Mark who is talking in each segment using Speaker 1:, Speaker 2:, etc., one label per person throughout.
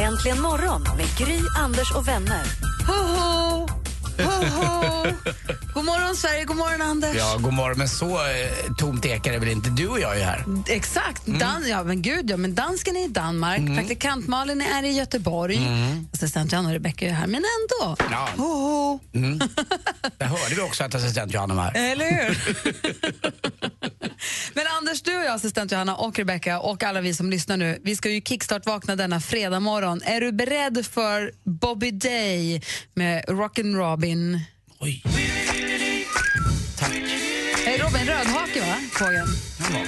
Speaker 1: Äntligen morgon med Gry, Anders och vänner.
Speaker 2: Ho, ho. Ho, ho. God morgon, Sverige. God morgon, Anders.
Speaker 3: Ja, god morgon. Men så eh, tomt ekar det väl inte? Du och jag är här.
Speaker 2: Exakt. Dan- ja, men gud, ja, men dansken är i Danmark, praktikant Malin är i Göteborg. Assistent Johanna och Rebecka är här, men ändå.
Speaker 3: Ja.
Speaker 2: Ho, ho.
Speaker 3: Mm. Där hörde vi också att assistent Johanna var här.
Speaker 2: Eller hur? men Anders, du och jag, assistent Johanna och Rebecka och alla vi som lyssnar nu, vi ska ju kickstart-vakna denna fredag morgon. Är du beredd för Bobby Day med Rockin' Robin?
Speaker 3: Oj. Tack.
Speaker 2: Eh, Robin Rödhake, va? Fågeln.
Speaker 3: Ja.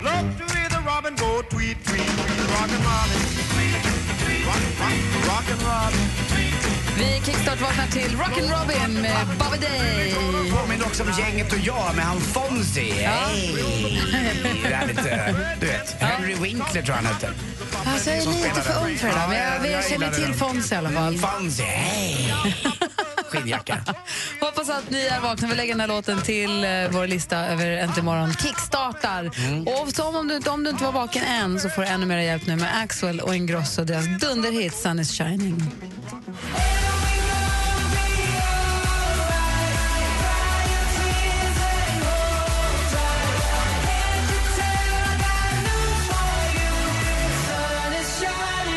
Speaker 4: Love to hear the robin go tweet, tweet, tweet, rockin' robin. Rock, rock, rockin' robin.
Speaker 2: Vi kickstart-vaknar till Rockin' Robin med Bobby Day.
Speaker 3: Påminner också om gänget och jag med han Fonzie. Hej! Det där lite, du vet, Henry Winkler tror jag han hette.
Speaker 2: Alltså, jag är
Speaker 3: Som
Speaker 2: lite
Speaker 3: spelade.
Speaker 2: för ung för det där, men
Speaker 3: Ja,
Speaker 2: jag,
Speaker 3: jag-
Speaker 2: jag,
Speaker 3: jag
Speaker 2: känner
Speaker 3: gillade
Speaker 2: till
Speaker 3: den.
Speaker 2: Fonzie i alla fall.
Speaker 3: Fonzie, hej! Skinnjacka.
Speaker 2: Hoppas att ni är vakna. Vi lägger den här låten till eh, vår lista över Äntligen morgon. Kickstartar! Och som om, du, om du inte var vaken än så får du ännu mer hjälp nu med Axwell och Ingrosso och deras dunderhit Sun is shining.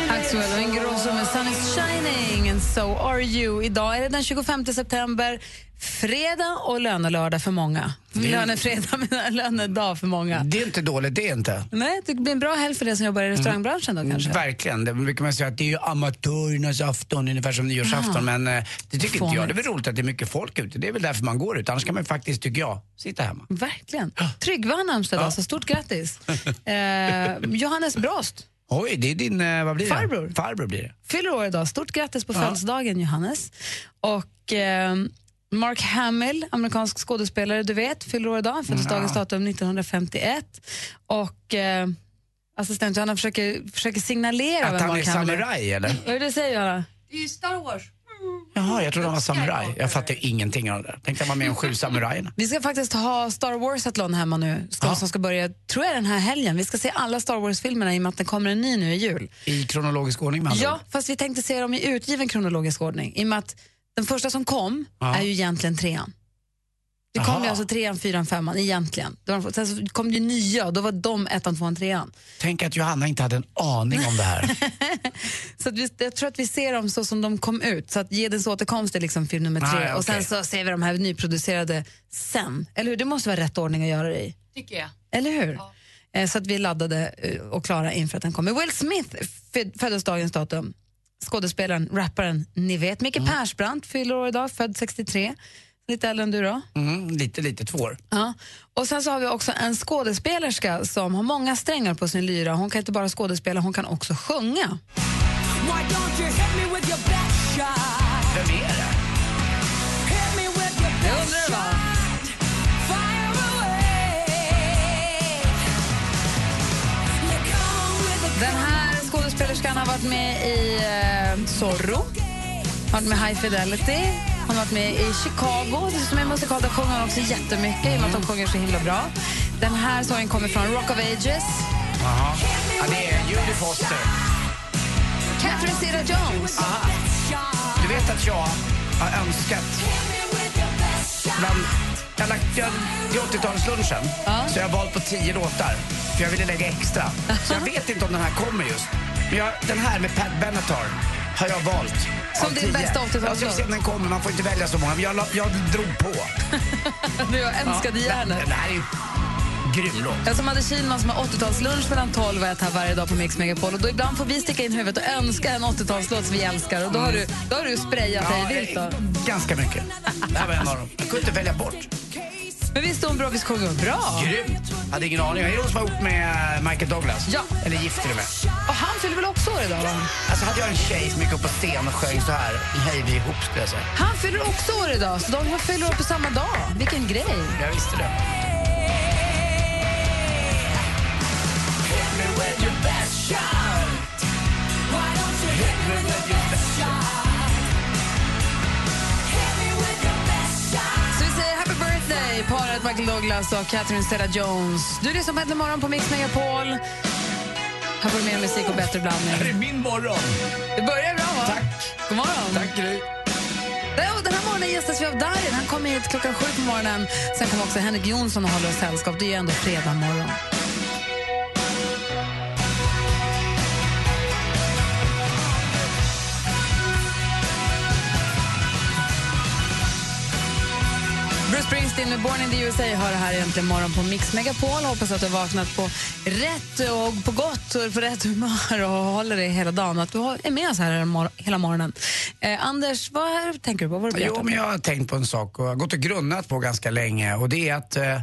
Speaker 2: Axwell och Ingrosso med Sun is shining and so are you. Idag är det den 25 september, fredag och lönelördag för många. Lönefredag, men lönedag för många.
Speaker 3: Det är inte dåligt, det är inte.
Speaker 2: Nej, det blir en bra helg för dig som jobbar i restaurangbranschen då kanske.
Speaker 3: Mm. Verkligen. Det brukar man säga att det är ju amatörernas afton, ungefär som nyårsafton. Men eh, det tycker inte jag. Det är väl roligt att det är mycket folk ute. Det är väl därför man går ut. Annars kan man faktiskt, tycker jag, sitta hemma.
Speaker 2: Verkligen. Tryggve har namnsdag idag, så stort grattis. Eh, Johannes Brost
Speaker 3: Oj, det är din, eh, vad blir det?
Speaker 2: Farbror.
Speaker 3: Farbror blir det.
Speaker 2: fyller år idag. Stort grattis på födelsedagen, Johannes. Och eh, Mark Hamill, amerikansk skådespelare, du vet, fyller år idag. Födelsedagens datum 1951. Och eh, assistent Johanna försöker, försöker signalera
Speaker 3: Att
Speaker 2: vem
Speaker 3: han är
Speaker 2: Mark Hamill är.
Speaker 3: samuraj eller?
Speaker 2: Vad är det du säger, Johanna?
Speaker 3: Jaha, jag trodde han var samuraj. Jag fattar ingenting av det där. Tänkte han var med om sju samurajerna.
Speaker 2: Vi ska faktiskt ha Star Wars-athlon hemma nu, ska, som ska börja, tror jag, den här helgen. Vi ska se alla Star Wars-filmerna i och med att den kommer en ny nu i jul.
Speaker 3: I kronologisk ordning med andra
Speaker 2: Ja,
Speaker 3: ord.
Speaker 2: fast vi tänkte se dem i utgiven kronologisk ordning. I och med att den första som kom
Speaker 3: Ja.
Speaker 2: är ju egentligen trean. Det kom
Speaker 3: Jaha.
Speaker 2: ju alltså trean, fyran, femman egentligen. Det var de- Sen så kom det nya och då var de ettan, tvåan, trean.
Speaker 3: Tänk att Johanna inte hade en aning om det här.
Speaker 2: Så att vi, jag tror att vi ser dem så som de kom ut. Så att Gedens återkomst är liksom film nummer
Speaker 3: Ah,
Speaker 2: tre
Speaker 3: ja,
Speaker 2: och sen
Speaker 3: okej.
Speaker 2: så ser vi de här nyproducerade sen. Eller hur? Det måste vara rätt ordning att göra det i.
Speaker 5: tycker jag.
Speaker 2: Eller hur? Eh, Så att vi laddade eh, och klara inför att den kommer. Will Smith fö- föddes dagens datum. Skådespelaren, rapparen, ni vet. Micke Persbrandt fyller år idag, född 63. Lite äldre än du då.
Speaker 3: Mm, lite, lite två år.
Speaker 2: Ja. Och sen så har vi också en skådespelerska som har många strängar på sin lyra. Hon kan inte bara skådespela, hon kan också sjunga.
Speaker 3: Vem är det?
Speaker 2: Det undrar du va? Den här skådespelerskan har varit med i eh, Zorro, har varit med i High Fidelity, hon har varit med i Chicago, som är en musikal där sjunger hon också jättemycket i och med att de sjunger så himla bra. Den här sången kommer från Rock of Ages,
Speaker 3: Jaha. Ja, det är Judy Foster.
Speaker 2: Catherine Zeta-Jones.
Speaker 3: Du vet att jag har önskat bland... Jag har lagt, jag, till 80-talslunchen så jag har valt på 10 låtar för jag ville lägga extra. Så jag vet inte om den här kommer just. Men jag, den här med Pat Benatar har jag valt.
Speaker 2: Som
Speaker 3: av
Speaker 2: din
Speaker 3: 10.
Speaker 2: bästa 80-talslåt.
Speaker 3: Jag ska se om den kommer, man får inte välja så många. Men jag, la- jag drog på.
Speaker 2: Du, jag älskade hjärnet.
Speaker 3: Den här är ju grym låt.
Speaker 2: Jag som hade Kihlman som har 80-talslunch mellan 12 och 1 här varje dag på Mix Megapol. Och då ibland får vi sticka in huvudet och önska en 80-talslåt som vi älskar. Och då har du, då har du sprayat dig vilt.
Speaker 3: eh,
Speaker 2: då.
Speaker 3: ganska mycket. Det här var en av dem. Jag kunde inte välja bort.
Speaker 2: Men visst är hon bra? Visst sjunger hon bra?
Speaker 3: Grymt! Hade ingen aning. Är det hon som har gjort med eh, Michael Douglas?
Speaker 2: Ja.
Speaker 3: Eller gift till och med.
Speaker 2: Och han fyller väl också år idag? va?
Speaker 3: Alltså hade jag en tjej som gick upp på scen och sjöng så här, hej vi är ihop skulle jag säga.
Speaker 2: Han fyller också år idag, så de fyller år på samma dag. Vilken grej!
Speaker 3: Jag visste det.
Speaker 2: Så vi säger happy birthday, paret Michael Douglas och Catherine Zeta-Jones. Du lyssnar på Äntligen morgon på Mix Megapol. Här får du mer musik och bättre blandning.
Speaker 3: är min morgon.
Speaker 2: Det börjar bra, va?
Speaker 3: Tack.
Speaker 2: God morgon.
Speaker 3: Tack Gry.
Speaker 2: Ja, och Den här morgonen gästas vi av Darin. Han kommer hit klockan sju på morgonen. Sen kommer också Henrik Jonsson och håller oss sällskap. Det är ju ändå fredag morgon. Bruce Springsteen med Born in the USA hör det här egentligen morgon på Mix Megapol. Hoppas att du har vaknat på rätt och på gott och på rätt humör och håller dig hela dagen. Att du har- är med oss här mor- hela morgonen. Eh, Anders, vad här tänker du på? Vad har du
Speaker 3: Jo,
Speaker 2: berättat?
Speaker 3: men jag har tänkt på en sak och har gått och grunnat på ganska länge och det är att eh,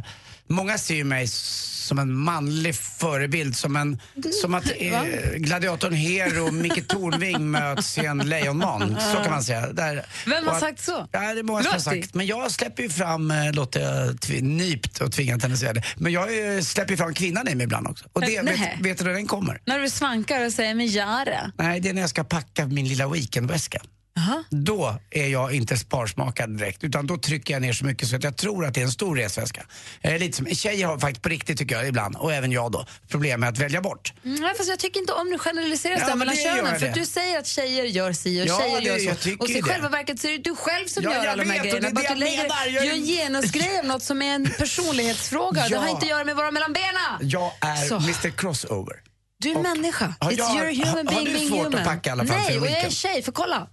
Speaker 3: många ser ju mig s- som en manlig förebild, som, en, som att eh, gladiatorn Hero och Micke Tornving möts i en lejonman. Så kan man säga. Där.
Speaker 2: Vem har
Speaker 3: Och att-
Speaker 2: sagt så?
Speaker 3: Ja, det är många som har
Speaker 2: Lottie?
Speaker 3: sagt. Men jag släpper ju fram, eh, låter jag tv- nypt och tvingat henne att säga det, men jag eh, släpper ju fram kvinnan i mig ibland också. Och det,
Speaker 2: Eh,
Speaker 3: vet,
Speaker 2: nähä.
Speaker 3: vet du när den kommer?
Speaker 2: När du svankar och säger med Jara.
Speaker 3: Nej, det är när jag ska packa min lilla weekendväska.
Speaker 2: Aha.
Speaker 3: Då är jag inte sparsmakad direkt, utan då trycker jag ner så mycket så att jag tror att det är en stor resväska. Eh, lite som, tjejer har faktiskt på riktigt, tycker jag, ibland, och även jag då, problem med att välja bort.
Speaker 2: Nej, Mm, fast jag tycker inte om du generaliserar
Speaker 3: Ja,
Speaker 2: ja,
Speaker 3: men
Speaker 2: mellan
Speaker 3: det gör
Speaker 2: könen.
Speaker 3: jag
Speaker 2: För
Speaker 3: det.
Speaker 2: att du säger att tjejer gör si och
Speaker 3: Ja,
Speaker 2: tjejer
Speaker 3: det-
Speaker 2: gör så.
Speaker 3: jag tycker
Speaker 2: och så
Speaker 3: ju
Speaker 2: i
Speaker 3: det.
Speaker 2: själva verket så är det du själv som
Speaker 3: Ja,
Speaker 2: gör
Speaker 3: jag
Speaker 2: alla de
Speaker 3: vet,
Speaker 2: här
Speaker 3: och
Speaker 2: grejerna.
Speaker 3: det är
Speaker 2: Bara
Speaker 3: det
Speaker 2: att du
Speaker 3: jag
Speaker 2: lägger,
Speaker 3: menar. Jag är
Speaker 2: gör en
Speaker 3: ju-
Speaker 2: genusgrej om något som är en personlighetsfråga. Det
Speaker 3: Ja.
Speaker 2: har inte att göra med våra mellan benen.
Speaker 3: Jag är
Speaker 2: Så.
Speaker 3: Mr Crossover.
Speaker 2: Du är människa.
Speaker 3: Har
Speaker 2: It's
Speaker 3: jag-
Speaker 2: you're a
Speaker 3: har-
Speaker 2: human
Speaker 3: har
Speaker 2: being
Speaker 3: du
Speaker 2: being
Speaker 3: svårt att
Speaker 2: human.
Speaker 3: packa i alla fall till
Speaker 2: Nej,
Speaker 3: en
Speaker 2: och jag är
Speaker 3: weekend?
Speaker 2: tjej, för kolla.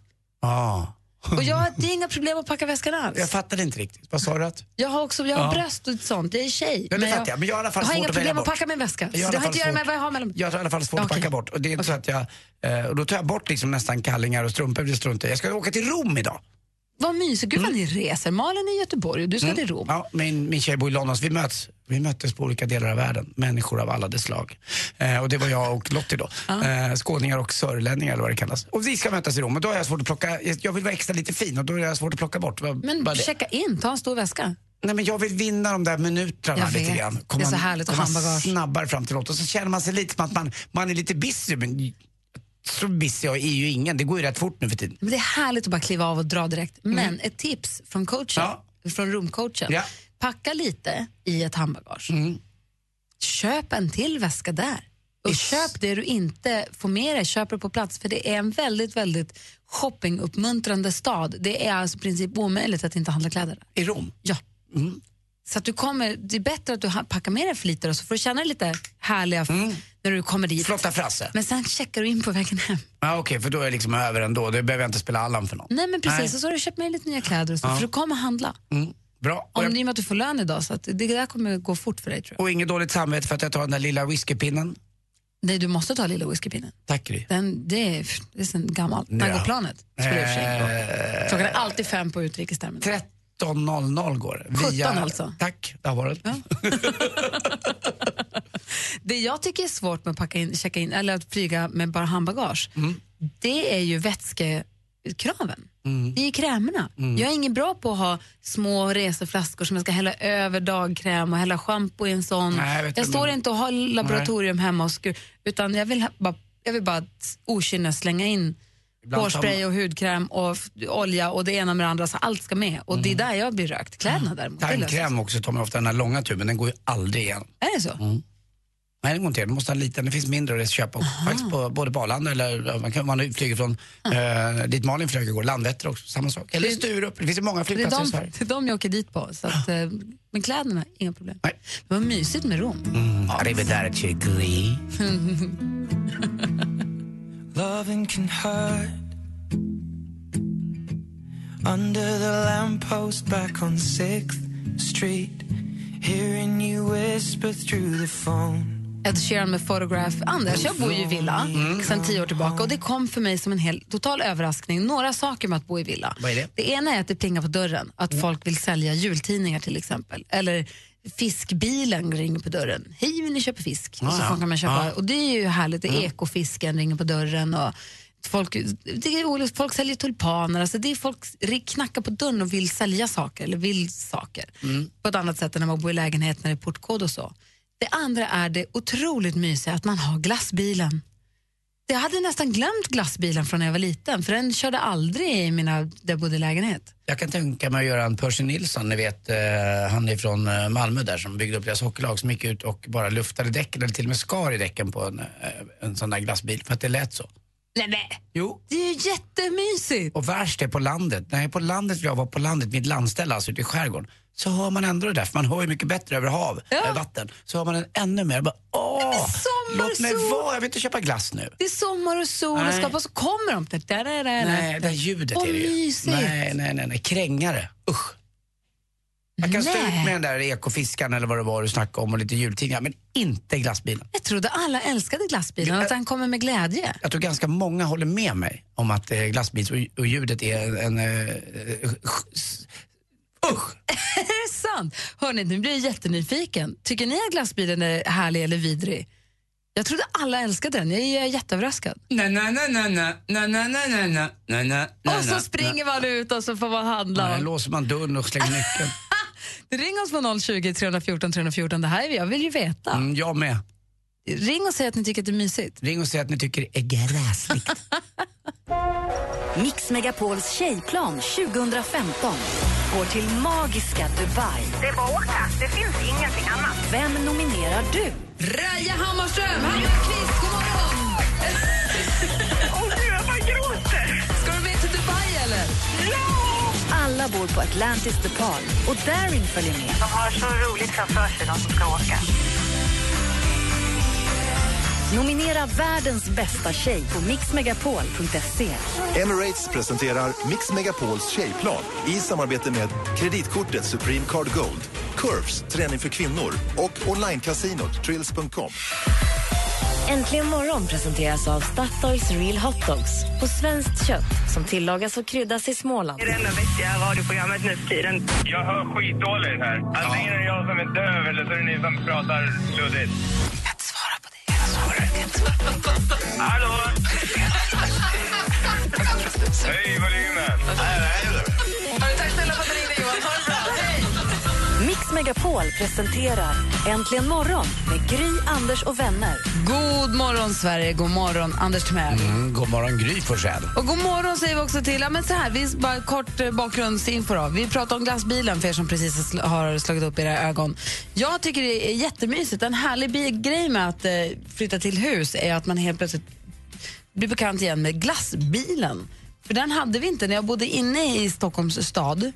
Speaker 3: Ah.
Speaker 2: Och jag, det är inga problem att packa väskan alls.
Speaker 3: Jag fattade inte riktigt. Vad sa du? Att?
Speaker 2: Jag har också jag har
Speaker 3: Ja.
Speaker 2: bröst och sånt. Jag är tjej.
Speaker 3: Ja, det fattar jag. Men jag har i alla fall
Speaker 2: har
Speaker 3: svårt
Speaker 2: inga
Speaker 3: att välja
Speaker 2: problem att
Speaker 3: bort.
Speaker 2: packa min väska. Så
Speaker 3: Jag har i
Speaker 2: det
Speaker 3: alla
Speaker 2: har inte att
Speaker 3: fall
Speaker 2: göra med
Speaker 3: svårt-
Speaker 2: vad jag har mellan
Speaker 3: Jag har i alla fall svårt
Speaker 2: Okej.
Speaker 3: att packa bort. Och, det är så att jag, eh, och då tar jag bort liksom nästan kallingar och strumpor. Det struntar jag i. Jag ska åka till Rom idag.
Speaker 2: Vad mysigt. Gud vad ni reser. Malin är i Göteborg och du ska till Rom.
Speaker 3: Mm. Ja, min, min tjej bor i London, så vi möts. Vi möttes på olika delar av världen, människor av alla dess slag. Eh, och det var jag och Lottie då. Eh, skåningar och sörlänningar eller vad det kallas. Och vi ska mötas i Rom och då har jag svårt att plocka, jag vill vara extra lite fin och då är jag svårt att plocka bort. Vad-
Speaker 2: Men
Speaker 3: vad det-
Speaker 2: checka in, ta en stor väska.
Speaker 3: Nej, men jag vill vinna de där minuterna
Speaker 2: Jag
Speaker 3: lite
Speaker 2: vet.
Speaker 3: grann.
Speaker 2: Det är så härligt att ha
Speaker 3: komma
Speaker 2: handbagage.
Speaker 3: snabbare fram till något. Och så känner man sig lite som att man, man är lite busy, men så busy är ju ingen. Det går ju rätt fort nu för tiden.
Speaker 2: Men det är härligt att bara kliva av och dra direkt. Men ett tips från coachen, från roomcoachen.
Speaker 3: Ja.
Speaker 2: Packa lite i ett handbagage. Köp en till väska där. Och köp det du inte får med dig, köp det på plats. För det är en väldigt, väldigt shoppinguppmuntrande stad. Det är alltså i princip omöjligt att inte handla kläder där.
Speaker 3: I Rom.
Speaker 2: Ja. Så att du kommer, det är bättre att du ha- packar med dig för lite och så får du känna dig lite härliga f- när du kommer dit.
Speaker 3: Flotta frasse.
Speaker 2: Men sen checkar du in på vägen hem.
Speaker 3: Ja, Okej, för då är jag liksom över ändå. Då behöver jag inte spela Allan för någon.
Speaker 2: Nej men precis, och så har du köpt med dig lite nya kläder och så, för du kommer handla.
Speaker 3: Mm. Bra. Och,
Speaker 2: Om
Speaker 3: jag,
Speaker 2: det är med att du får lön idag så att det där kommer gå fort för dig tror jag.
Speaker 3: och inget dåligt samvete för att jag tar den där lilla whiskypinnen.
Speaker 2: Nej, du måste ta lilla whiskypinnen.
Speaker 3: Tack Gry.
Speaker 2: Den, det är, det är sen gammalt. När
Speaker 3: Ja.
Speaker 2: går planet? Spelar i och för sig ingen
Speaker 3: Eh,
Speaker 2: roll. Klockan är alltid fem på utrikesterminalen.
Speaker 3: 13.00 går.
Speaker 2: 17 alltså.
Speaker 3: Tack, det har varit.
Speaker 2: Det jag tycker är svårt med att packa in, checka in eller att flyga med bara handbagage,
Speaker 3: Mm.
Speaker 2: det är ju vätskekraven.
Speaker 3: Mm.
Speaker 2: Det är ju krämerna. Jag är ingen bra på att ha små reseflaskor som jag ska hälla över dagkräm och hälla schampo i en sån.
Speaker 3: Nej, jag
Speaker 2: jag
Speaker 3: vet inte,
Speaker 2: står
Speaker 3: men-
Speaker 2: inte och har laboratorium hemma och skur, utan jag vill ha- bara, jag vill bara t- okynne slänga in
Speaker 3: Ibland
Speaker 2: hårspray
Speaker 3: tar
Speaker 2: och hudkräm och f- olja och det ena med det andra, så allt ska med. Och det är
Speaker 3: Mm.
Speaker 2: där jag blir rökt. Kläderna däremot, det löser sig.
Speaker 3: Tandkräm också tar man ofta den här långa tuben. Den går ju aldrig igen.
Speaker 2: Är det så?
Speaker 3: Mm. Nej, den går inte igen. Du måste ha en liten. Det finns mindre att köpa också. Faktiskt på, både på Arlanda eller ja, man, kan, man flyger från eh, dit Malin flög igår. Landvetter också, samma sak. Eller Sturup. Det finns ju många
Speaker 2: Det är,
Speaker 3: flygplatser i
Speaker 2: de,
Speaker 3: Sverige.
Speaker 2: det är de jag åker dit på. Så att, eh, men kläderna, inga problem.
Speaker 3: Nej.
Speaker 2: Det var mysigt med Rom.
Speaker 3: Mm. Arrivederci Gry.
Speaker 5: Loving can hurt. Under the lamppost back on 6th Street, hearing you whisper through the phone.
Speaker 2: Ed Sheeran med Photograph. Anders, jag bor ju i villa
Speaker 3: Mm.
Speaker 2: sedan tio år tillbaka och det kom för mig som en hel total överraskning. Några saker med att bo i villa.
Speaker 3: Vad är det? Mm.
Speaker 2: ena är att det plingar på dörren, att folk vill sälja jultidningar till exempel. Eller fiskbilen ringer på dörren. Hej, vill ni köpa fisk? och så
Speaker 3: Ah, ja. Mm.
Speaker 2: kan man köpa. Och det är ju härligt. Det är Ekofisken ringer på dörren och folk, det är, olika- folk säljer tulpaner. Alltså det är folk ri- knackar på dörren och vill sälja saker eller vill saker.
Speaker 3: Mm.
Speaker 2: På ett annat sätt än när man bor i lägenhet när det är portkod och så. Det andra är det otroligt mysiga att man har glassbilen. Jag hade nästan glömt glassbilen från när jag var liten för den körde aldrig i mina, där jag bodde i lägenhet.
Speaker 3: Jag kan tänka mig att göra en Percy Nilsson, ni vet eh, han är från eh, Malmö där som byggde upp deras hockeylag som gick ut och bara luftade däcken eller till och med skar i däcken på en, eh, en sån där glassbil för att det lät så.
Speaker 2: Nej, nej.
Speaker 3: Jo.
Speaker 2: Det är ju jättemysigt!
Speaker 3: Och värst är på landet. När jag är på landet, jag var på landet, mitt landställe alltså ute i skärgården, så hör man ändå det där, för man hör ju mycket bättre över hav,
Speaker 2: Ja.
Speaker 3: eh, vatten. Så hör man den ännu mer. Bara,
Speaker 2: men
Speaker 3: åh,
Speaker 2: sommar,
Speaker 3: låt mig
Speaker 2: sol.
Speaker 3: vara, jag vill inte köpa glass nu.
Speaker 2: Det är sommar och sol och
Speaker 3: Nej.
Speaker 2: skapar så kommer de. Där, där, där,
Speaker 3: Nej, det där ljudet
Speaker 2: Åh,
Speaker 3: är det ju.
Speaker 2: mysigt.
Speaker 3: Nej, nej, nej, nej. Krängare. Usch. Jag kan stå
Speaker 2: Nej.
Speaker 3: ut med den där ekofiskaren eller vad det var du snackade om och lite jultidningar, men inte glassbilen.
Speaker 2: Jag trodde alla älskade glassbilen och att den kommer med glädje.
Speaker 3: Jag tror ganska många håller med mig om att eh, glassbils och, och ljudet är en... en eh, s- usch!
Speaker 2: Är det sant? Hörrni, nu blir jag jättenyfiken. Tycker ni att glassbilen är härlig eller vidrig? Jag trodde alla älskade den. Jag är jätteöverraskad.
Speaker 3: Na, na, na, na, na, na, na, na, na, na, na, na, na,
Speaker 2: Och så
Speaker 3: na,
Speaker 2: springer man ut och så får man
Speaker 3: na.
Speaker 2: handla.
Speaker 3: Nej, låser man dörren och slänger nyckeln.
Speaker 2: Ring oss på 020 314 314. Det här är vi. Jag vill ju veta.
Speaker 3: Mm, jag med.
Speaker 2: Ring och säg att ni tycker att det är mysigt.
Speaker 3: Ring och säg att ni tycker det är gräsligt.
Speaker 1: Mix Megapols tjejplan 2015 går till magiska Dubai.
Speaker 6: Det är bara att åka. Det finns ingenting annat.
Speaker 1: Vem nominerar du?
Speaker 2: Raja Hammarström, Hammarkvist, god morgon!
Speaker 6: Åh gud, jag bara gråter!
Speaker 2: Ska du med till Dubai eller?
Speaker 6: Ja!
Speaker 1: Alla bor på Atlantis de Paul och Darin följer med.
Speaker 6: De har så roligt framför sig, de som ska åka.
Speaker 1: Nominera världens bästa tjej på mixmegapol.se.
Speaker 7: Emirates presenterar Mix Megapols tjejplan i samarbete med kreditkortet Supreme Card Gold, Curves, träning för kvinnor och onlinecasinot Trills.com.
Speaker 1: Äntligen morgon presenteras av Statoils Real Hot Dogs på svenskt kött som tillagas och kryddas i Småland.
Speaker 6: Det är det enda vettiga radioprogrammet nu för tiden.
Speaker 8: Jag hör skitdåligt här. Antingen är det jag som är döv eller så är det ni som pratar luddigt. Hallå? Höj volymen!
Speaker 2: Tack snälla för att du ringde Johan. Ha det bra. Hej!
Speaker 1: Mix Megapol presenterar Äntligen morgon med Gry, Anders och vänner.
Speaker 2: God morgon, Sverige. God morgon, Anders Timell.
Speaker 3: Mm, god morgon Gry Forssell.
Speaker 2: Och god morgon säger vi också till... Ja, men så här, vi bara kort eh, bakgrundsinfo. Då. Vi pratar om glassbilen för er som precis har sl- har slagit upp era ögon. Jag tycker det är jättemysigt. En härlig bi- grej med att eh, flytta till hus är att man helt plötsligt blir bekant igen med glassbilen. För den hade vi inte. När jag bodde inne i Stockholms stad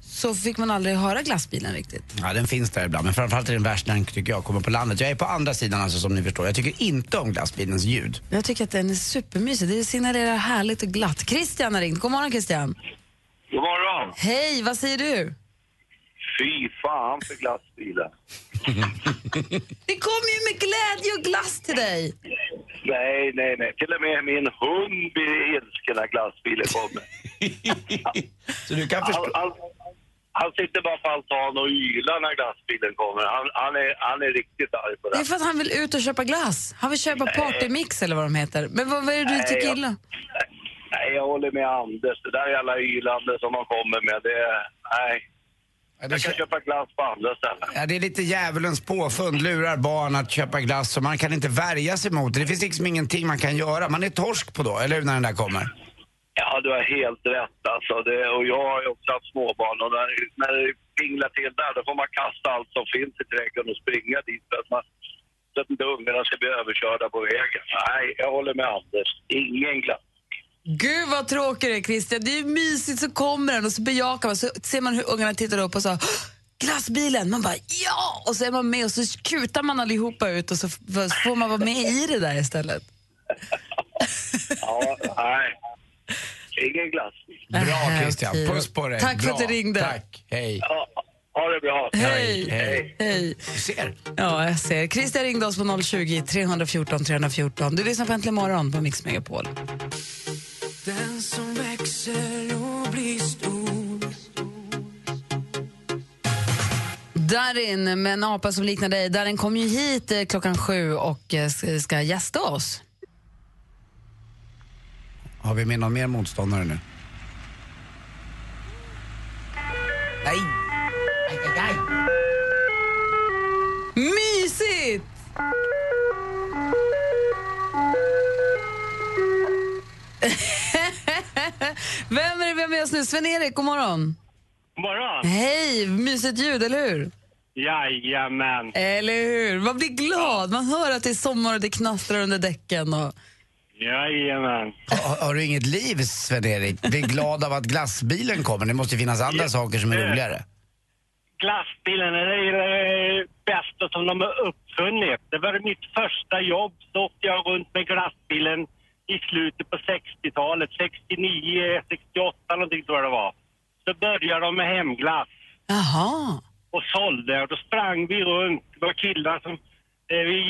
Speaker 2: så fick man aldrig höra glassbilen riktigt.
Speaker 3: Ja, den finns där ibland, men framförallt är den värst när den tycker jag kommer på landet. Jag är på andra sidan alltså som ni förstår. Jag tycker inte om glassbilens ljud.
Speaker 2: Jag tycker att den är supermysig. Det signalerar härligt och glatt. Christian har ringt. God morgon Christian.
Speaker 8: God morgon!
Speaker 2: Hej, vad säger du?
Speaker 8: Fy fan för glassbilen.
Speaker 2: Det kommer ju med glädje och glass till dig.
Speaker 8: Nej, nej, nej. Till och med min hund blir ilsken när glassbilen kommer.
Speaker 3: Så du kan
Speaker 8: Han,
Speaker 3: förstå.
Speaker 8: han, han sitter bara på altanen och ylar när glassbilen kommer. Han, han, är, han är riktigt arg på
Speaker 2: Det är
Speaker 8: det.
Speaker 2: för att han vill ut och köpa glass. Han vill köpa partymix eller vad de heter. Men vad, vad är det du
Speaker 8: Nej,
Speaker 2: tycker
Speaker 8: jag-
Speaker 2: illa om?
Speaker 8: Nej, jag håller med Anders. Det där jävla ylande som han kommer med, det... Nej.
Speaker 3: Ja, det,
Speaker 8: Jag kan köpa glass på andra ställen.
Speaker 3: ja, det är lite djävulens påfund, lurar barn att köpa glass och man kan inte värja sig mot det. Det finns liksom ingenting man kan göra. Man är torsk på då, eller hur, när den där kommer?
Speaker 8: Ja, du har helt rätt alltså. Det, och jag har ju också haft småbarn och när, när det pinglar till där då får man kasta allt som finns i trädgården och springa dit för att, man, så att inte ungarna ska bli överkörda på vägen. Nej, jag håller med Anders. Ingen glass.
Speaker 2: Gud vad tråkigt det är Christian. Det är mysigt så kommer den och så bejakar man. Så ser man hur ungarna tittar upp och så "Åh, glassbilen. Man bara ja! Och så är man med och så kutar man allihopa ut och så f- så får man vara med i det där istället.
Speaker 8: Ja, nej. Ingen glass.
Speaker 3: Bra
Speaker 2: Äh,
Speaker 3: Christian,
Speaker 2: okej.
Speaker 3: puss på dig.
Speaker 2: Tack för
Speaker 3: Bra.
Speaker 2: att du ringde.
Speaker 3: Tack, hej.
Speaker 8: Ja, ha
Speaker 9: Ha det bra.
Speaker 2: Hej.
Speaker 9: Hej.
Speaker 2: Hej.
Speaker 10: Du ser.
Speaker 2: Ja, jag ser. Christer ringde oss på 020 314 314. Du lyssnar på Äntligen morgon på Mix Megapol.
Speaker 11: Den som växer och blir stor
Speaker 2: Darin med en apa som liknar dig. Darin kom ju hit eh, klockan sju och eh, s- ska gästa oss.
Speaker 3: Har vi med någon mer motståndare nu?
Speaker 10: Nej. Aj, aj, aj.
Speaker 2: Mysigt! vem är det vi har med oss nu? Sven-Erik, god morgon.
Speaker 12: God morgon!
Speaker 2: Hej! Mysigt ljud, eller hur?
Speaker 12: Jajamän!
Speaker 2: Eller hur? Man blir glad. Man hör att det är sommar och det knastrar under däcken. Och...
Speaker 12: Jajamän.
Speaker 3: Har, har du inget liv, Sven-Erik? Bli glad av att glassbilen kommer. Det måste ju finnas andra saker som är roligare.
Speaker 12: Glassbilen är det bästa som de har uppfunnit. Det var mitt första jobb. Så åkte jag runt med glassbilen i slutet på 60-talet. 69, 68 någonting tror jag det var. Så började de med hemglass.
Speaker 2: Jaha.
Speaker 12: och sålde. Och då sprang vi runt. Det var killar som... Eh, vi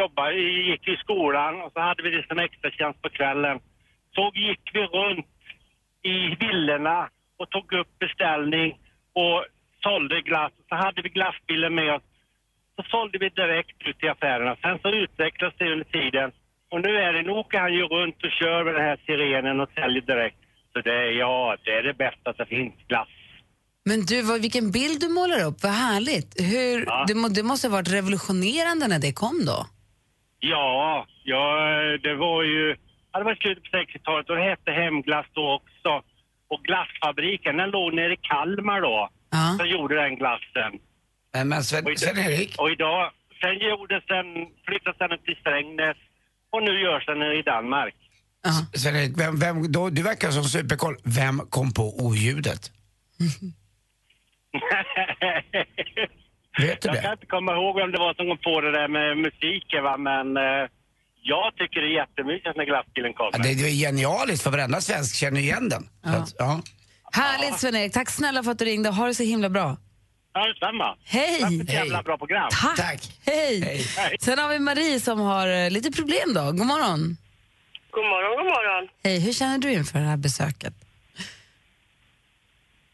Speaker 12: jobbade, vi gick i skolan och så hade vi det som extratjänst på kvällen. Så gick vi runt i villorna och tog upp beställning och sålde glass. Så hade vi glassbilen med oss. Så sålde vi direkt ut i affärerna. Sen så utvecklades det under tiden. Och nu är det, nu åker han ju runt och kör med den här sirenen och säljer direkt. Så det är, ja, det är det bästa som finns, glass.
Speaker 2: Men du, vad, vilken bild du målar upp. Vad härligt. Hur, det, må, det måste ha varit revolutionerande när det kom då.
Speaker 12: Ja, ja det var ju... Ja, det var i slutet på 60-talet och det hette Hemglass då också. Och glassfabriken, den låg nere i Kalmar då. Sen gjorde den glassen.
Speaker 3: Men, men Sven-
Speaker 12: Och i-
Speaker 3: Sven-Erik?
Speaker 12: Och idag, sen gjordes den, flyttades den till Strängnäs och nu görs den nere i Danmark.
Speaker 3: Sven-Erik, vem, vem, då, du verkar som superkoll. Vem kom på oljudet? Vet du
Speaker 12: jag
Speaker 3: det?
Speaker 12: kan inte komma ihåg vem det var som kom på det där med musiken va, men eh, jag tycker det är jättemysigt när glassbilen
Speaker 3: Ja,
Speaker 12: kommer.
Speaker 3: det, det är genialiskt, för varenda svensk känner ju igen den. Så att, ja.
Speaker 2: Härligt Sven-Erik. Tack snälla för att du ringde. Ha det så himla bra.
Speaker 12: Ja, detsamma.
Speaker 2: Hej!
Speaker 12: Tack för ett jävla bra program.
Speaker 2: Tack! Hej. Sen har vi Marie som har eh, lite problem då. God morgon.
Speaker 6: God morgon, god morgon.
Speaker 2: Hej, hur känner du inför det här besöket?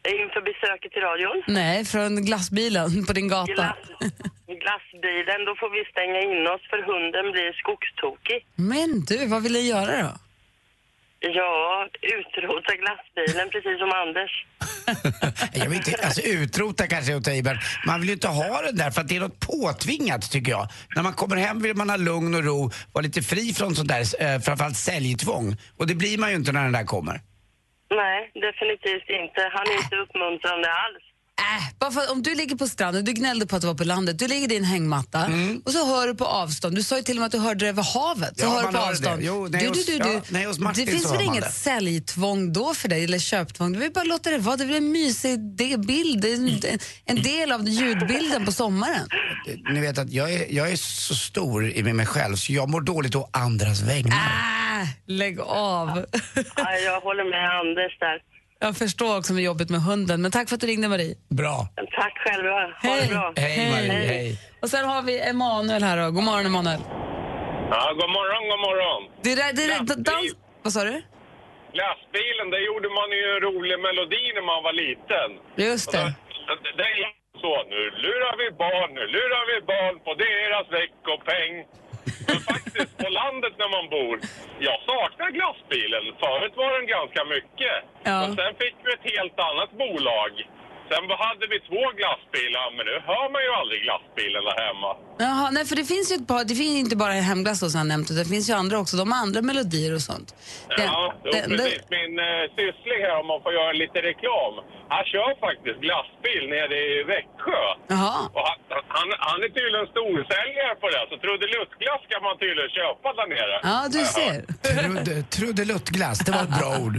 Speaker 6: Inför besöket i radion.
Speaker 2: Nej, från glassbilen på din gata.
Speaker 6: Glassbilen, då får vi stänga in oss för hunden blir skogstokig.
Speaker 2: Men du, vad vill du göra då?
Speaker 6: Ja, utrota glassbilen precis som Anders.
Speaker 3: Jag vill inte, alltså utrota kanske är att ta i, men man vill ju inte ha den där för att det är något påtvingat tycker jag. När man kommer hem vill man ha lugn och ro, vara lite fri från sånt där, eh, framförallt säljtvång. Och det blir man ju inte när den där kommer.
Speaker 6: Nej, definitivt inte. Han är inte uppmuntrande alls.
Speaker 2: Äh, bara för, att- om du ligger på stranden, du gnällde på att du var på landet, du ligger i din hängmatta och så hör du på avstånd, du sa ju till och med att du hörde det över havet, så
Speaker 3: Mm. Ja,
Speaker 2: hör du
Speaker 3: man
Speaker 2: på
Speaker 3: hör det.
Speaker 2: avstånd.
Speaker 3: Jo, nej,
Speaker 2: du, du,
Speaker 3: hos-
Speaker 2: du,
Speaker 3: ja, nej, hos Martin
Speaker 2: det finns
Speaker 3: så
Speaker 2: väl
Speaker 3: hör man
Speaker 2: inget
Speaker 3: det.
Speaker 2: säljtvång då för dig, eller köptvång, du vill bara låta det vara, det blir en mysig de- bild, det är en, en del av ljudbilden på sommaren.
Speaker 3: Ni vet att jag är, jag är så stor i mig själv så jag mår dåligt å andras vägnar.
Speaker 2: Äh, lägg av.
Speaker 6: Ja, jag håller med Anders där.
Speaker 2: Jag förstår också med jobbet med hunden, men tack för att du ringde Marie.
Speaker 3: Bra.
Speaker 6: Tack själva. Ha det bra.
Speaker 2: Och sen har vi Emanuel här då, god morgon Emanuel.
Speaker 13: Ja, god morgon, god morgon.
Speaker 2: Det där, det där, dans... Vad sa du?
Speaker 13: Glassbilen, där gjorde man ju en rolig melodi när man var liten.
Speaker 2: Just det.
Speaker 13: Det- Det är så, nu lurar vi barn, nu lurar vi barn på deras veckopeng. Men faktiskt, på landet när man bor, jag saknar glassbilen. Förut var den ganska mycket.
Speaker 2: Ja.
Speaker 13: Och sen fick vi ett helt annat bolag. Sen hade vi två glassbilar, men nu hör man ju aldrig glassbilen där hemma.
Speaker 2: Jaha, nej för det finns ju ett par, det finns inte bara hemglass då, som jag nämnt, utan det finns ju andra också, de har andra melodier och sånt.
Speaker 13: Ja, jo,
Speaker 2: den-
Speaker 13: precis. Min eh, syssling här, om man får göra lite reklam, han kör faktiskt glassbil nere i Växjö. Och han, han, han är tydligen storsäljare på det, så trudeluttglass kan man tydligen köpa där nere.
Speaker 2: Ja, du ser.
Speaker 3: Trude, trudeluttglass, det var ett bra ord.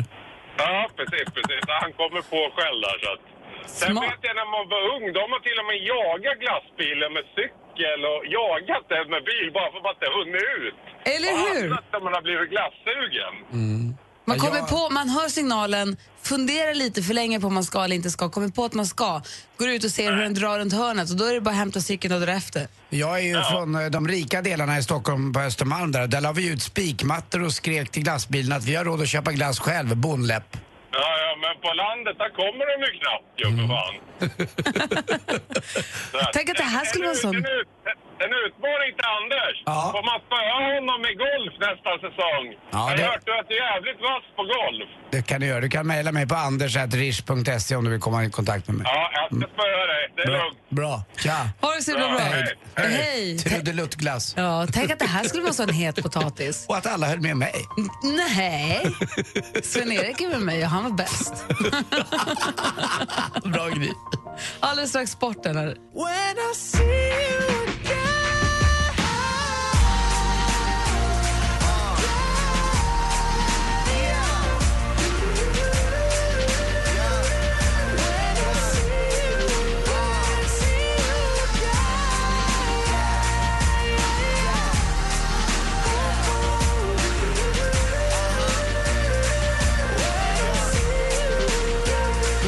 Speaker 13: Ja, precis, precis. Han kommer på själv där. Så att. Sen
Speaker 3: Smart.
Speaker 13: vet jag när man var ung, de har till och med jagat glassbilen med cykel och jagat den med bil bara för att man inte hunnit ut.
Speaker 2: Eller
Speaker 13: Och
Speaker 2: hur?
Speaker 13: hamnat där man har blivit glassugen.
Speaker 2: Man kommer på, man hör signalen, funderar lite för länge på om man ska eller inte ska, kommer på att man ska, går ut och ser hur den drar runt hörnet och då är det bara att hämta cykeln och dra efter.
Speaker 3: Jag är ju från eh, de rika delarna i Stockholm på Östermalm där. Där la vi ut spikmattor och skrek till glassbilen att vi har råd att köpa glass själv, bonläpp.
Speaker 12: Ja, ja, men på landet, där kommer de ju knappt, gubbefan. Så att-
Speaker 2: Mm. Tänk att det här skulle vara
Speaker 12: En ut-
Speaker 2: sån.
Speaker 12: En, ut, en utmaning till Anders. Får man spöa honom i golf nästa säsong?
Speaker 3: Ja,
Speaker 12: Jag har
Speaker 3: det-
Speaker 12: hört att du är jävligt vass på golf.
Speaker 3: Det kan du göra. Du kan mejla mig på anders.rish.se om du vill komma i kontakt med mig.
Speaker 12: Ja, jag
Speaker 2: Mm.
Speaker 12: ska spöa dig. Det är
Speaker 3: Bra.
Speaker 12: lugnt.
Speaker 3: Bra. Tja.
Speaker 2: Ha det så himla bra.
Speaker 3: Hej.
Speaker 2: Hej.
Speaker 3: Trudeluttglass.
Speaker 2: Ja, tänk att det här skulle vara sån het potatis.
Speaker 3: Och att alla höll med mig.
Speaker 2: Nej, Sven-Erik är med mig och han var bäst.
Speaker 3: Bra Gry.
Speaker 2: Alldeles strax sporten. Här.
Speaker 14: When I see you again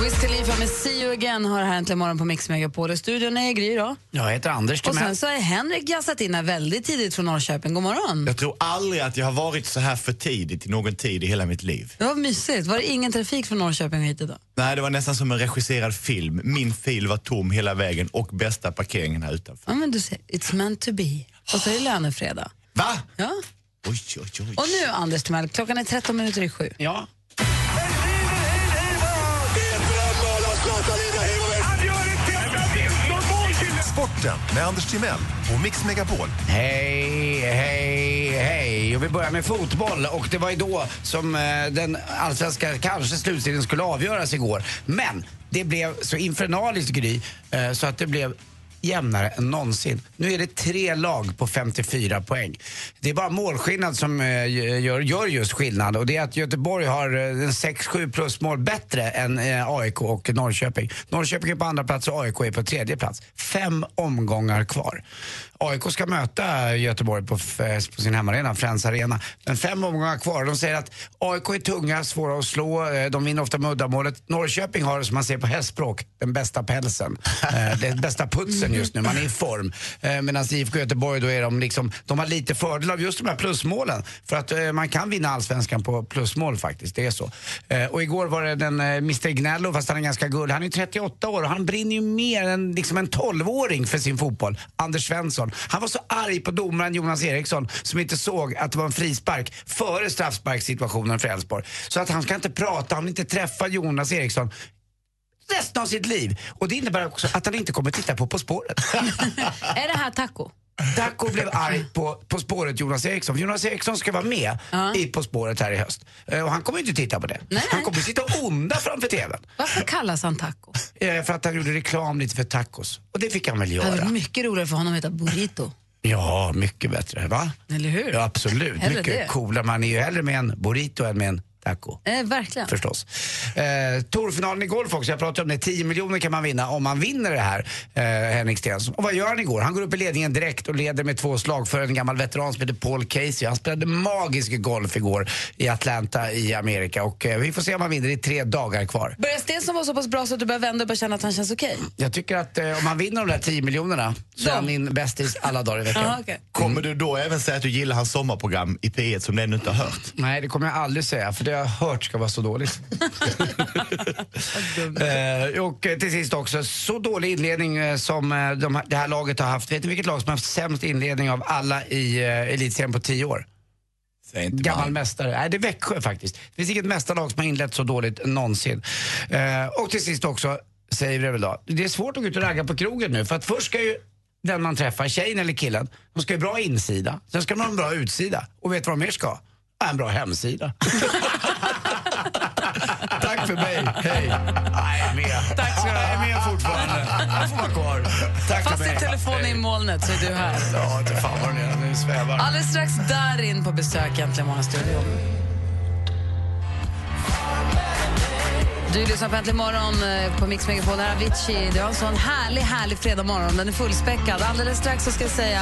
Speaker 2: Wiz Khalifa med See You Again har här äntligen morgon på Mix Megapol. I studion är Gry då.
Speaker 3: Jag heter Anders
Speaker 2: Och
Speaker 3: Timell.
Speaker 2: sen så är Henrik jazzat in här väldigt tidigt från Norrköping. God morgon.
Speaker 15: Jag tror aldrig att jag har varit så här för tidigt i någon tid i hela mitt liv.
Speaker 2: Det var mysigt. Var det ingen trafik från Norrköping hit idag?
Speaker 15: Nej, det var nästan som en regisserad film. Min fil var tom hela vägen och bästa parkeringen här utanför.
Speaker 2: Ja, men du ser, it's meant to be. Och så är det lönefredag.
Speaker 15: Va?
Speaker 2: Ja.
Speaker 15: Oj, oj, oj.
Speaker 2: Och nu, Anders Timell, klockan är 13 minuter i sju.
Speaker 3: Ja.
Speaker 7: Sporten med Anders Timell och Mix Megapol.
Speaker 3: Hej, hej, hej. Och vi börjar med fotboll och det var ju då som eh, den allsvenska kanske slutstriden skulle avgöras igår. Men det blev så infernaliskt Gry eh, så att det blev jämnare än någonsin. Nu är det tre lag på 54 poäng. Det är bara målskillnad som eh, gör, gör just skillnad och det är att Göteborg har eh, en 6-7 plusmål bättre än eh, AIK och Norrköping. Norrköping är på andra plats och AIK är på tredje plats. Fem omgångar kvar. AIK ska möta Göteborg på, f- eh, på sin hemmaarena, Friends Arena. Men fem omgångar kvar. De säger att AIK är tunga, svåra att slå. eh, De vinner ofta med uddamålet. Norrköping har, som man säger på hästspråk, den bästa pälsen. Eh, Den bästa putsen just nu. Man är i form. Eh, Medan IFK Göteborg, då är de, liksom, de har lite fördel av just de här plusmålen. För att eh, man kan vinna allsvenskan på plusmål faktiskt. Det är så. Eh, Och igår var det den eh, Mr Gnello, fast han är ganska gull. Han är 38 år och han brinner ju mer än liksom en 12-åring för sin fotboll. Anders Svensson. Han var så arg på domaren Jonas Eriksson som inte såg att det var en frispark före straffsparkssituationen för Elfsborg. Så att han ska inte prata, han vill inte träffa Jonas Eriksson resten av sitt liv. Och det innebär också att han inte kommer titta på På spåret.
Speaker 2: Är det här taco?
Speaker 3: Daco blev arg på På spåret Jonas Eriksson. För Jonas Eriksson ska vara med i På spåret här i höst. Eh, Och han kommer inte titta på det. Han kommer sitta och onda framför TVn.
Speaker 2: Varför kallas han taco?
Speaker 3: Eh, För att han gjorde reklam lite för tacos. Och det fick han väl
Speaker 2: Det hade
Speaker 3: göra.
Speaker 2: varit mycket roligare för honom att heta burrito.
Speaker 3: Ja, mycket bättre. Va?
Speaker 2: Eller hur?
Speaker 3: Ja, absolut.
Speaker 2: Hellre
Speaker 3: mycket
Speaker 2: det.
Speaker 3: coolare. Man är ju hellre med en burrito än med en taco.
Speaker 2: Eh, verkligen.
Speaker 3: Förstås. Eh, Torfinalen i golf också, jag pratade om det. 10 miljoner kan man vinna om man vinner det här, eh, Henrik Stenson. Och vad gör han igår? Han går upp i ledningen direkt och leder med två slag för en gammal veteran som heter Paul Casey. Han spelade magisk golf igår i Atlanta i Amerika och eh, vi får se om han vinner. Det är tre dagar kvar.
Speaker 2: Börjar Stensson vara så pass bra så att du börjar vända och börjar känna att han känns okej?
Speaker 3: Jag tycker att eh, om han vinner de där 10 miljonerna så är han min bästis alla dagar i veckan.
Speaker 2: Ja, okej.
Speaker 15: Kommer du då även säga att du gillar hans sommarprogram i P1 som du ännu inte har hört?
Speaker 3: Nej, det kommer jag aldrig säga, för det jag har hört ska vara så dåligt. eh, och eh, till sist också, så dålig inledning eh, som eh, de, här- det här laget har haft. Vet ni vilket lag som har haft sämst inledning av alla i eh, elitserien på tio år? Gammal mästare. Nej, det är Växjö faktiskt. Det finns inget mästarlag som har inlett så dåligt någonsin. Eh, och till sist också, säger vi det väl då. Det är svårt att gå ut och ragga på krogen nu, för att först ska ju den man träffar, tjejen eller killen, de ska ju ha bra insida, sen ska de ha en bra utsida. Och vet du vad de mer ska ha? Ja, En bra hemsida. Tack för mig. Hej. Nej, jag är med. Tack ska du ha. Jag är med fortfarande. Jag får vara kvar. Tack
Speaker 2: Fast
Speaker 3: för mig.
Speaker 2: din telefon är i molnet så är du här.
Speaker 3: Ja, inte fan vad den är. Den svävar.
Speaker 2: Alldeles strax Darin på besök i Äntligen Morgonstudion. Du lyssnar på Äntligen morgon eh, på Mix Megapol. Här är Avicii. Det var en sån härlig, härlig fredag morgon. Den är fullspäckad. Alldeles strax så ska jag säga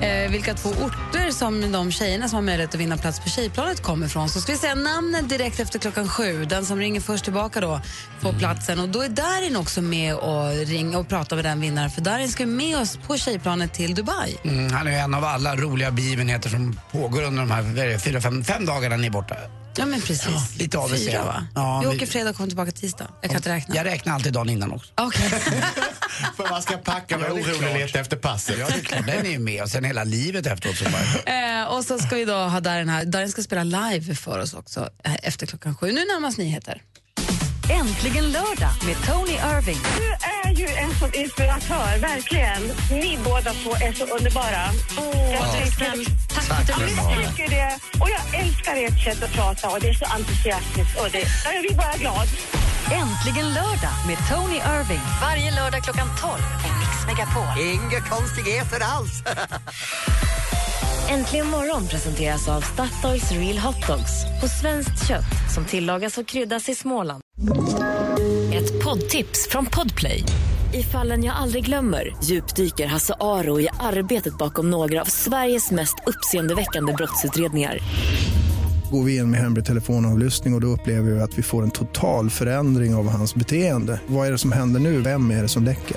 Speaker 2: eh, vilka två orter som de tjejerna som har möjlighet att vinna plats på Tjejplanet kommer ifrån. Så ska vi säga namnet direkt efter klockan sju. Den som ringer först tillbaka då får platsen. Och då är Darin också med och ring och pratar med den vinnaren. För Darin ska ju med oss på Tjejplanet till Dubai.
Speaker 3: Mm, han är ju en av alla roliga begivenheter som pågår under de här vad är det, fyra, fem, fem dagarna ni är borta.
Speaker 2: Ja, men precis.
Speaker 3: lite av det ser
Speaker 2: Fyra,
Speaker 3: jag.
Speaker 2: va?
Speaker 3: Ja,
Speaker 2: vi
Speaker 3: vi-
Speaker 2: åker fredag och kommer tillbaka tisdag. Jag kan inte räkna.
Speaker 3: Jag räknar alltid dagen innan också.
Speaker 2: Okej.
Speaker 3: För man ska packa,
Speaker 7: vara orolig, leta
Speaker 3: efter passet. Ja, det är klart. Den är ju med och sen hela livet efteråt. Så bara.
Speaker 2: Eh, och så ska vi då ha Darin här. Darin ska spela live för oss också eh, efter klockan sju. Nu närmast nyheter.
Speaker 16: Äntligen lördag med Tony Irving.
Speaker 6: Du är ju en sån inspiratör, verkligen. Ni båda två är så underbara.
Speaker 16: vad
Speaker 6: tycker, tack
Speaker 16: Tack
Speaker 6: jag
Speaker 16: ska du ha.
Speaker 6: tycker det. Och jag älskar ert sätt att prata och det är så entusiastiskt. Och det, ja, jag blir bara glad.
Speaker 16: Äntligen lördag med Tony Irving. Varje lördag klockan 12 i Mix Megapol.
Speaker 1: Inga konstigheter alls. Äntligen morgon presenteras av Statoils Real Hot Dogs på svenskt kött som tillagas och kryddas i Småland. Ett poddtips från Podplay. I fallen jag aldrig glömmer djupdyker Hasse Aro i arbetet bakom några av Sveriges mest uppseendeväckande brottsutredningar.
Speaker 12: Går vi in med hemlig telefonavlyssning och, och då upplever vi att vi får en total förändring av hans beteende. Vad är det som händer nu? Vem är det som läcker?